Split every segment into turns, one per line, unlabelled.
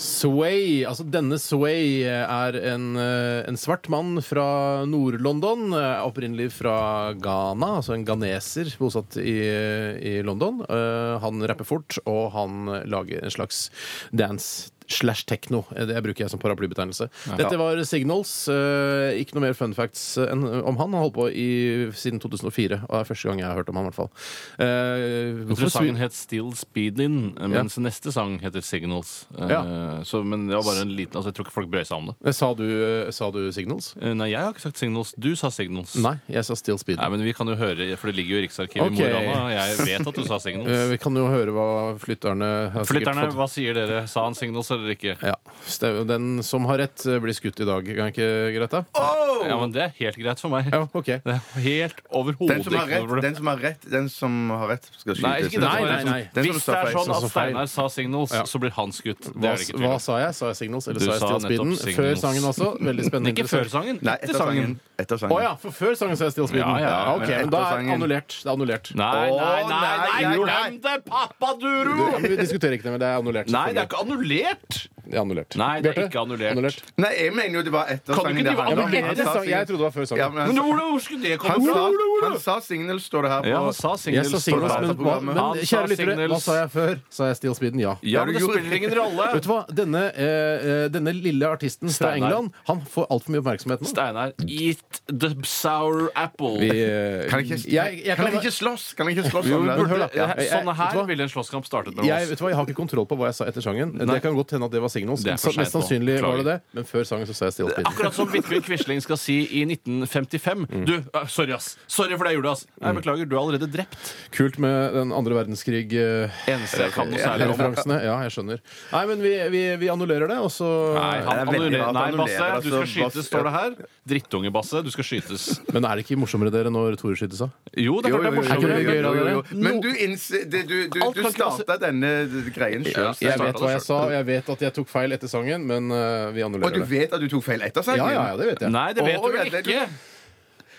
Sway, altså denne Sway er en, eh, en svart mann fra Nord-London. eh, Opprinnelig fra Ghana, altså en ghaneser bosatt i, i London. Eh, Han rapper fort, og han lager en slags dance. Slash tekno. Eh, Det bruker jeg som paraplybetegnelse. Dette var Signals. eh, Ikke noe mer fun facts eh, enn om han. Han har holdt på i, siden 2004, og det er første gang jeg har hørt om han, i hvert fall. Eh,
Jeg
hvorfor
tror sangen
swi-
het Still Speedin, mens neste sang heter Signals. Eh,
Ja.
Så, men det var bare en liten altså, Jeg tror ikke folk brød seg om det.
Eh, Sa du, sa du Signals?
Eh, Nei, jeg har ikke sagt Signals. Du sa Signals.
Nei, jeg sa Still Speed.
Nei, men vi kan jo høre, for det ligger jo i Riksarkivet
Ok.
i Morana. Jeg vet at du sa
Eh,
Signals.
Vi kan jo høre hva flytterne har sikkert
Flytterne,
fått.
hva sier dere? Sa han Signals eller ikke?
Ja. Stau- Den som har rett, eh, blir skutt i dag. Kan ikke Greta?
Oh.
Ja, men Det er helt greit for meg.
Ja, ok.
Det er helt
Den
overhodet
som har
ikke noe
rett,
problem.
den som har rett, den som har rett skal skytes.
Nei, ikke den som
Nei,
har
nei,
rett.
nei.
Den som
Hvis
sa
det er
feil.
sånn
Den
at
som feil.
Steinar sa Signals,
Ja.
så blir han skutt. Det
Hva,
er det ikke tvil
hva
om.
sa jeg? Sa jeg Signals, eller
Du
sa jeg
sa
Still Speeden?
nettopp
Før
Signals.
sangen også. Veldig spennende.
Men ikke før
interessant.
sangen.
Nei,
Etter sangen.
Etter sangen.
Å ja, for før sangen sa jeg Still Speeden.
Ja, ja, ja.
ok,
Men
men da
etter
er det
sangen-
annullert. Det er annullert.
Nei, nei,
Å,
nei,
nei,
nei,
nei,
glem det, Papaduro!
Du- Vi diskuterer ikke det, men det er annullert.
Nei, det er
selvfølgelig.
ikke annullert!
Det er annullert.
Nei, det er
Bjarte?
ikke annullert.
Nei, jeg mener jo det var etter
Kan du
sangen
ikke
det handler
Ja,
drive
om.
men
annullert?
Han
etter
sa
sang, jeg
signal-
trodde det var før
Ja,
sangen.
men han-
Men Ola, hvor skulle det
han,
komme
sa,
fra?
han sa signal, står det her på.
Ja, han sa
Jeg
singles.
sa Signals, men, hva,
programmet.
men
Han sa
kjære lyttere, hva
Signals.
sa jeg før? Sa jeg Still Speeden? Ja.
Ja, men det
Ja, du
spiller
gjorde-
ingen rolle.
Vet du hva? Denne, eh, eh, denne lille artisten fra
Steinar.
England Han får altfor mye oppmerksomhet nå.
Steinar, eat the sour apple.
Vi, eh,
Kan jeg ikke,
jeg, jeg
kan jeg
kan-
ikke slåss? Kan jeg ikke slåss
Jo,
om
men hør da.
det? Ja.
jeg-
Sånne
vet du
her
hva?
ville en slåsskamp startet mellom
jeg,
oss.
vet du hva, jeg har ikke kontroll på hva jeg sa etter sangen. Det kan godt hende at det var Signals.
Det er for
Så, mest
sent nå.
sannsynlig var det
Beklager.
det, men før sangen så sa jeg Still Speeden.
Akkurat som Vidkun Quisling skal si i 1955.
Mm.
Du, eh, sorry, ass. Sorry for det jeg gjorde, ass. Nei, beklager, du er allerede drept.
Kult med den andre verdenskrig. eh,
Eneste jeg kan noe særlig om.
Referansene. Ja, jeg skjønner. Nei, men vi, vi, vi annullerer det, og
Nei,
så
han,
Det er veldig
annuller-
rart
nei,
han
Basse,
annullerer,
du
altså,
skal
Basse-
skytes, står det her. Drittunge, Basse. Du skal skytes.
Men er det ikke morsommere, dere, når Tore skytes av?
Jo, det er klart det er
jo, jo,
morsommere.
jo, jo, jo.
Men du, inns- det- du, du,
Alt
du
kan ikke være-
starta denne greien sjøl.
Jeg vet hva jeg
startet det selv.
sa, og jeg vet at jeg tok feil etter sangen, men eh, vi
Og du
annullerer det.
vet at du tok feil etter sangen?
Ja, ja, ja, det vet jeg.
Nei, det vet
Å,
du vel
det-
ikke!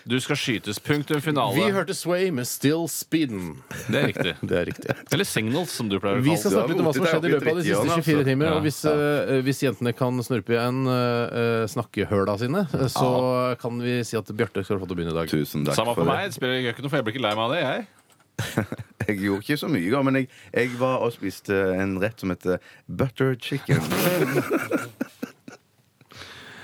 Du skal skytes. Punktum finale.
Vi hørte Sway med Still Speeden.
Det er riktig.
Det er riktig.
Eller signals, som du pleier å
Vi
kalle
skal
det.
snakke litt om hva som har skjedd i altså. løpet av de siste 24 timer.
Ja,
Og hvis, eh, hvis jentene kan snurpe igjen eh, snakkehøla sine, eh, så kan vi si at Bjarte skal få lov til å begynne i dag.
Tusen takk for
Samme for
det.
meg. Det spiller gjør ikke noe, for jeg blir ikke lei meg av det, jeg.
Jeg gjorde ikke så mye, i går, men jeg, jeg var og spiste en rett som heter butter chicken.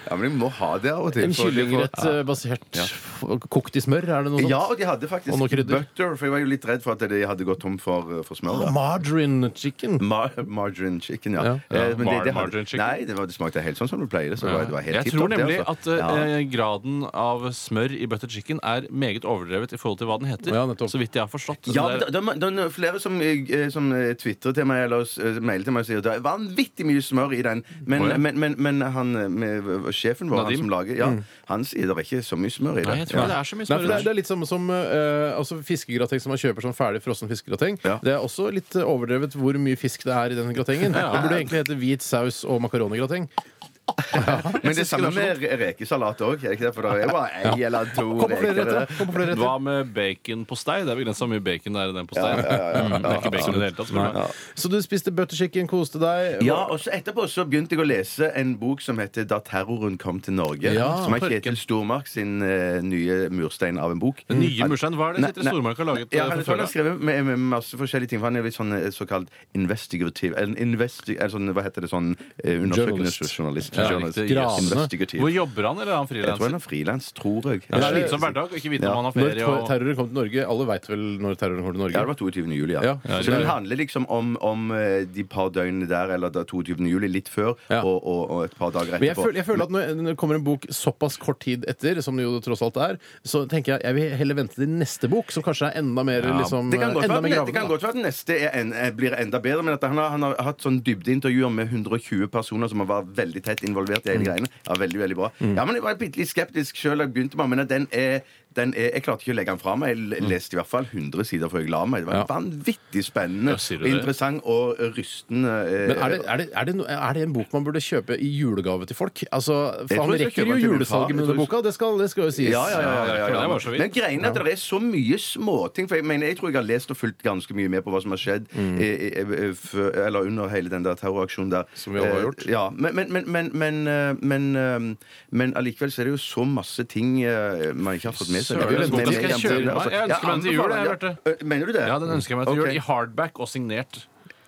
ja, men jeg må ha det av og til.
En
for-
kyllingrett eh, basert f- kokt i smør, er det noe sånt?
Ja, og de hadde faktisk
Og noe krydder.
butter, for jeg var jo litt redd for at de hadde gått tom for, for smør.
Ah,
da.
Margarine chicken.
Mar margarine chicken, ja.
Ja.
Eh, men
Mar-
det, det, hadde,
margarine chicken.
nei, det, var, det smakte helt sånn som du pleier det. Så det var, det var helt
Jeg
tipp
tror
topp, det,
nemlig at
altså. Ja.
eh, graden av smør i butter chicken er meget overdrevet i forhold til hva den heter.
Ja, nettopp.
så vidt jeg har forstått.
Ja,
Det
men det,
er-
det, det er flere som, eh, som eh, twitterer til meg eller eh, mailer til meg og sier at det er vanvittig mye smør i den. Men,
Å, ja.
men, men, men han, eh, med, sjefen vår,
Nadim?
han som lager, ja, han sier det er ikke så mye smør i det.
Nei, jeg tror ikke det
ja.
er så mye
Nei, for
smør.
det, er,
i
det
det.
er litt samme som eh, altså fiskegrateng som man kjøper som ferdig frossen fiskegrateng.
Ja.
Det er også litt eh, overdrevet hvor mye fisk det er i den gratengen. Det burde egentlig hete hvit saus og makaronigrateng.
Men det er samme med re- rekesalat òg. Er det ikke det? For det er bare ei eller to
Kom på flere
reker. eh.
retter! Kom på flere retter.
Hva med baconpostei? Det er begrensa hvor mye bacon det er i den posteien. Mm, Det er ikke bacon i det hele tatt. spør du meg.
Så du spiste butter chicken, koste deg.
Ja, og så Etterpå så begynte jeg å lese en bok som heter 'Da terroren kom til Norge'.
Ja,
som er
parken.
Kjetil Stormark sin eh, nye murstein av en bok.
Den nye mursteinen, hva er det
Nei,
Kjetil
nei.
Stormark har laget,
Ja,
eh,
han,
for
jeg tror han
før,
har skrevet med, med masse forskjellige ting. For han er litt sånn eh, såkalt investigativ eller investi, eller sånn, Hva heter det sånn eh, Undersøkende
Journalist.
journalist.
Ja,
journalist.
riktig, yes.
Investigativ.
Hvor jobber han, eller er han
Jeg tror han
frilanser?
er frilans, tror jeg.
Det
Ja,
er
det-
slitsom hverdag å ikke vite
Ja.
om han har
Når
ferie.
ter-
Og...
terroren kom til Norge Alle veit vel når terroren kom til
Ja, det
Norge?
var 22. juli, ja.
Ja, ja,
så
det-
den handler liksom om, om eh, de par døgnene der, eller da 22. juli, litt før,
Ja.
og, og, og et par dager etterpå.
Men jeg føler, jeg føler at når når det kommer en bok såpass kort tid etter, som det jo tross alt er, så tenker jeg jeg vil heller vente til neste bok, som kanskje er enda mer liksom,
Det kan godt,
enda
være,
mer
at- det kan
gravende.
godt være at den neste er en, eh, blir enda bedre, men at han har, han har hatt sånn dybdeintervjuer med 120 personer som har vært veldig
Mm.
tett involvert i hele greiene. Ja, veldig, veldig bra. Ja, men Jeg var bitte litt skeptisk sjøl da jeg begynte med den, men at den er den er, jeg klarte ikke å legge den fra meg. Jeg l- leste i hvert fall 100 sider før jeg la meg. Det var
Mm. Ja.
vanvittig spennende,
Ja, sier
og
du det?
interessant og rystende. eh,
Men er det, er, det, er, det, no- er det en bok man burde kjøpe i julegave til folk? Altså, for
tror
Han
jeg skal
rekker
kjøpe
jo
den til min far.
julesalget med
Jeg
denne
tror-
boka, det skal, det skal jo sies.
Ja, ja, ja, ja, ja,
Ja, det
ja.
var så vidt.
Men greien er at det er så mye småting. For jeg mener, jeg tror jeg har lest og fulgt ganske mye med på hva som har skjedd
Mm.
eh, eh, eh, før- eller under hele den der terroraksjonen der.
Som vi alle har
Eh,
gjort.
Ja, men, men, men, men, men, eh, men, eh, men allikevel så er det jo så masse ting eh, man ikke har fått med altså, seg.
Søren,
Men-
det er så godt.
men-
Skal jeg
men-
kjøpe meg? Jeg ønsker meg den til jul,
anbefaler-
jeg,
ja. Eh, Mener du det?
Ja, den ønsker jeg meg til
Ok.
jul. I hardback og signert.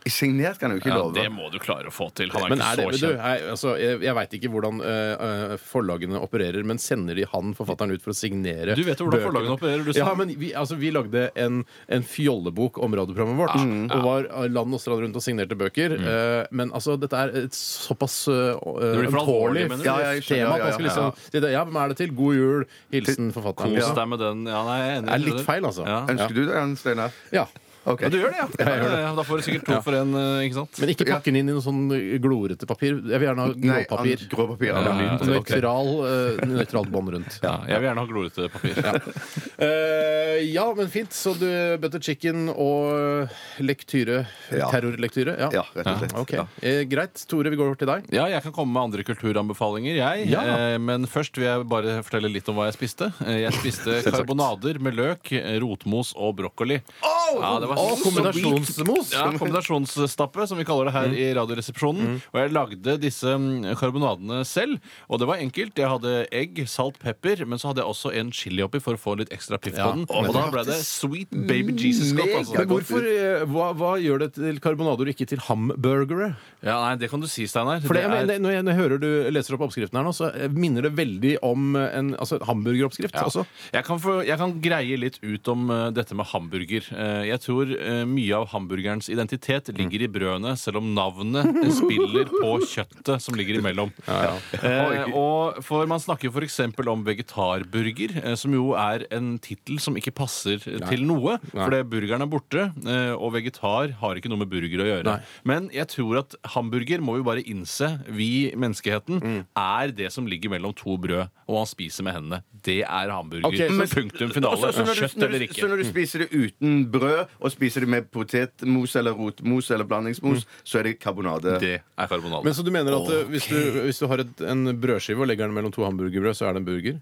Signert kan jeg jo ikke
Ja,
love.
det må du klare å få til. Han er
Men er
ikke
det,
så
du,
kjent.
nei, altså, jeg jeg veit ikke hvordan eh, eh, forlagene opererer, men sender de han forfatteren ut for å signere
Du vet jo hvordan forlagene opererer, du sa.
Ja, men vi, altså, vi lagde en, en fjollebok om radioprogrammet vårt,
Ah,
og var eh, land og strand rundt og signerte bøker.
Mm.
eh, men altså, dette er et såpass eh,
blir for
ømtålig
alvorlig, mener
tema
du?
Ja, ja, jeg skjønner, ja,
at man skal
ja, ja.
liksom si det, Ja, hvem er det til? God jul. Hilsen forfatteren.
Kos
Ja.
deg med den. Ja, nei, jeg er enig.
Det er litt feil, altså.
Ja.
Ønsker du det, Steinar?
Ja.
Ok.
Ja, du gjør det, ja.
jeg gjør det.
Ja, Da får du sikkert to for en, eh, ikke sant?
Men ikke pakke den inn i noe sånn glorete papir. Jeg vil gjerne ha
Nei,
gråpapir.
an- gråpapir,
Ja,
ja,
ja, ja.
Nøytral, eh, nøytralt bånd rundt.
Ja, jeg vil gjerne ha glorete papir.
Eh, ja, men fint. Så du Butter Chicken og lektyre.
Ja.
Terrorlektyre. Ja.
Ja, rett og slett.
Ok,
Ja.
eh, Greit. Tore, vi går over til deg.
Ja, jeg kan komme med andre kulturanbefalinger, jeg.
Ja.
Eh, men først vil jeg bare fortelle litt om hva jeg spiste. Eh, Jeg spiste karbonader med løk, eh, rotmos og brokkoli. ja, det var
Å,
så rikt.
kombinasjonsmos!
Ja, kombinasjonsstappe, som vi kaller det her i Radioresepsjonen. Og jeg lagde disse mm, karbonadene selv. Og det var enkelt. Jeg hadde egg, salt, pepper, men så hadde jeg også en chili oppi for å få litt ekstra piff
Ja,
på den.
og
Og da ble det sweet baby Jesus godt.
Men
Altså.
hvorfor, eh, hva, hva gjør det til karbonader og ikke til hamburgere?
Ja, nei, det kan du si, Steinar.
For det,
Det er-
jeg mener, når jeg når jeg hører du leser opp oppskriften her nå, så eh, minner det veldig om eh, en altså, hamburgeroppskrift
Ja.
også.
Jeg, kan få, jeg kan greie litt ut om eh, dette med hamburger. Eh, jeg tror eh, mye av hamburgerens identitet ligger i brødene, selv om navnet spiller på kjøttet som ligger imellom. Eh, og for Man snakker f.eks. om vegetarburger, eh, som jo er en tittel som ikke passer eh, til noe. For det- burgeren er borte, eh, og vegetar har ikke noe med burger å gjøre.
Nei.
Men jeg tror at hamburger må vi bare innse, vi menneskeheten,
Mm.
er det som ligger mellom to brød, og man spiser med hendene. Det er hamburger.
Ok, så-
men, punktum finale.
Og så- så når du-
Kjøtt
når du-
eller
Så
ikke. Mm.
når du spiser det uten brød, og spiser det med potetmos eller rotmos eller blandingsmos, så er det karbonade.
Mm. Det er karbonade.
Men Så du mener at eh, hvis, du, hvis du har et, en brødskive og legger den mellom to hamburgerbrød, så er det en burger?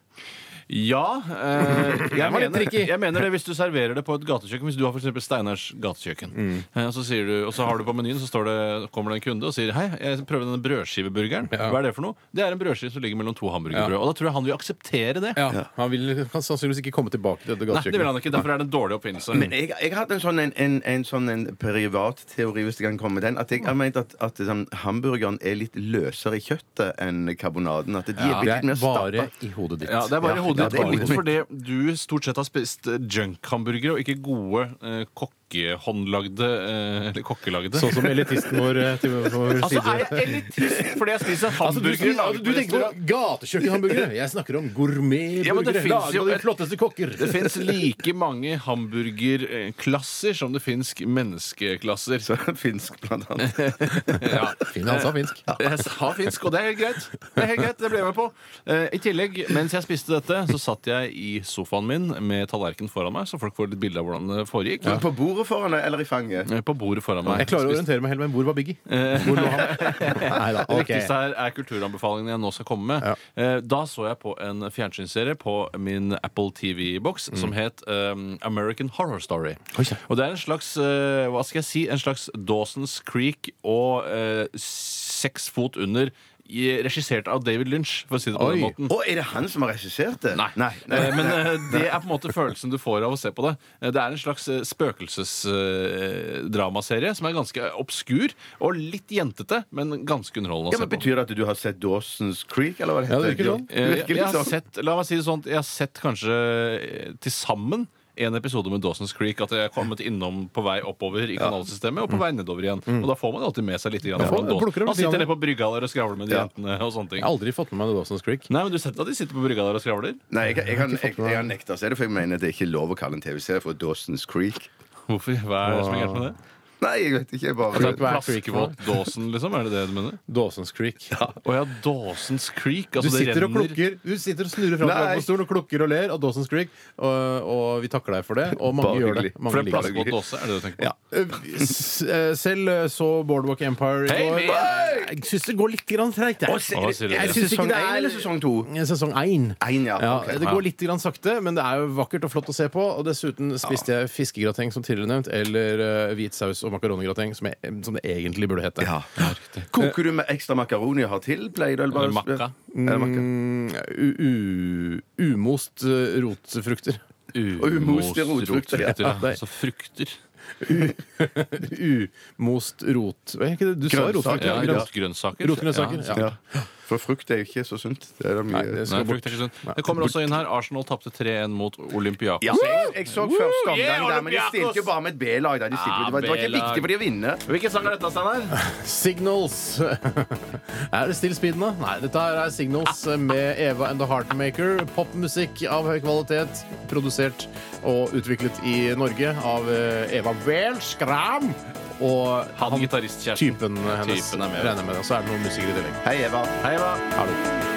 Ja. Eh, jeg,
var litt
mener,
tricky.
jeg mener det hvis du serverer det på et gatekjøkken. Hvis du har for eksempel Steinars gatekjøkken, eh, og, så sier du, og så har du på menyen, så står det, kommer det en kunde og sier Hei, jeg prøver denne brødskiveburgeren. Hva er det for noe? Det er en brødskive som ligger mellom to hamburgerbrød. Og da tror jeg han vil akseptere det.
Ja. Han vil, kan sannsynligvis ikke komme tilbake til dette
Nei, det vil
gatekjøkkenet.
han ikke. Derfor er det en dårlig oppfinnelse.
Men jeg, jeg har hatt en sånn, en, en, en sånn en privat teori, hvis det kan komme med den, at jeg har ment at, at sånn, hamburgeren er litt løsere i kjøttet enn karbonaden. At de er
Det
litt mer
er bare
stappa.
i hodet ditt.
Ja, det er bare
Ja,
i hodet
ja,
ditt.
det er
og
hodet
litt fordi du stort sett har spist eh, junk-hamburgere og ikke gode eh, kokkehåndlagde eh, eller kokkelagde.
Sånn som elitisten vår. eh, til vår
altså,
side.
er jeg elitist fordi jeg spiser
Altså,
hamburgere laget på restaurant?
gatekjøkkenhamburgere. Jeg snakker om gourmetburgere.
Ja, men det finnes jo et-
flotteste kokker.
Det fins like mange hamburgerklasser som det fins menneskeklasser.
Så Finsk, blant annet.
Ja.
Finn, han sa finsk.
Jeg sa finsk, og det er helt greit. Det er helt greit, det ble jeg med på. Eh, I tillegg, mens jeg spiste dette, så satt jeg i sofaen min med tallerkenen foran meg, så folk får litt bilde av hvordan det foregikk.
På bordet foran deg eller i fanget?
Eh, På bordet foran meg.
Jeg klarer å orientere meg helt, men hvor var Biggie? Hvor lå han? Nei da.
Det viktigste her er kulturanbefalingene jeg nå skal komme med. Eh, Da så jeg på en fjernsynsserie på min Apple TV-boks
Mm.
som het um, American Horror Story. Og det er en slags eh, hva skal jeg si, en slags Dawson's Creek og eh, seks fot under, i- regissert av David Lynch, for å si det på den
Oi.
måten.
Å, er det han som har regissert det?
Mm. Nei.
Nei. nei.
Eh, Men eh, det er på en måte følelsen du får av å se på det. Eh, Det er en slags spøkelsesdramaserie som er ganske obskur og litt jentete, men ganske underholdende å
Ja,
se
men
på.
Betyr det at du har sett Dawson's Creek, eller hva det
Ja,
heter?
det virker sånn.
Det
Eh,
virker
jeg
litt
har
sånn.
sett, la meg si det sånn, jeg har sett kanskje eh, til sammen en episode med Dawson's Creek at jeg har kommet innom på vei oppover i kanalsystemet
Mm.
og på vei nedover igjen. Og da får man alltid med seg litt. Grann,
Ja,
om Dawson.
plukker opp
Han
litt
sitter
grann.
nede på brygga der og skravler med de jentene og sånne
Jeg
ting.
har aldri fått med meg Dawson's Creek.
Nei, men Du har sett at de sitter på brygga der og skravler?
Nei, jeg, jeg, jeg, jeg, jeg har nekta å se det, for jeg mener det er ikke lov å kalle en TV-serie for Dawson's Creek.
Hvorfor? Hva er det som er gærent med det?
Nei, jeg vet ikke. Jeg bare
Takk for- Hva er Creek for?
Plaskevåt-dåsen, liksom? Er det det du mener?
Dawson's Creek.
Å ja, Dåsens Creek.
Du
Altså, det
sitter, og
renner-
klukker, du sitter og snurrer fram og tilbake
Nei.
på stolen og klukker og ler av Dawson's Creek, og, og vi takker deg for det. Og mange
Bare
gjør det.
hyggelig.
Mange
For det er
liker det.
plaskevåt dåse, er det det du tenker på?
Ja. S- eh, Selv eh, så Boardwalk Empire i
Hey,
går.
man!
Jeg syns det går litt grann treigt. jeg.
Å, sier du det?
Jeg syns ikke
Sesong
det
én eller
er
sesong to?
Sesong én.
Én, ja.
Ja,
ok.
det går litt grann sakte, men det er jo vakkert og flott å se på. Og dessuten spiste jeg fiskegrateng, som tidligere nevnt, eller eh, hvit saus og makarongrateng, som, jeg- som det egentlig burde hete.
Ja. Koker du med ekstra makaroni og har til? Pleier du eller bare
Eller makka.
Eller makka.
Mm, u u umost eh, rotfrukter.
umoste rotfrukter, ja.
ja.
Ja, det-
Altså frukter.
Umost rot... Hva er ikke det? Du sa
Grønnsaker,
rotfrukter.
Ja,
Ja, grønn-
Rotgrønnsaker.
Rotgrønnsaker. Ja.
Ja. For frukt er jo ikke så sunt. Det er da mye
Nei, det
Nei,
skal bort.
frukt er ikke sunt. Det kommer også inn her. Arsenal tapte 3-1 mot Olympiakos.
Ja, så jeg, jeg så først omgang
yeah,
der, men de stilte jo bare med et B-lag. der. De stilte,
Ja,
det, var, det var ikke
B-lag.
viktig for de å vinne.
Hvilken sang er dette, Steinar?
Signals. er det Still Speeden, da? Nei, dette her er Signals med Eva and The Heartmaker. Popmusikk av høy kvalitet, produsert og utviklet i Norge av eh, Eva Welskram. Og
Han gitaristkjæresten.
typen hennes,
Typen er med.
regner jeg med. Og så er det noen musikere i tillegg.
Hei, Eva.
Hei, hva?
Hallo.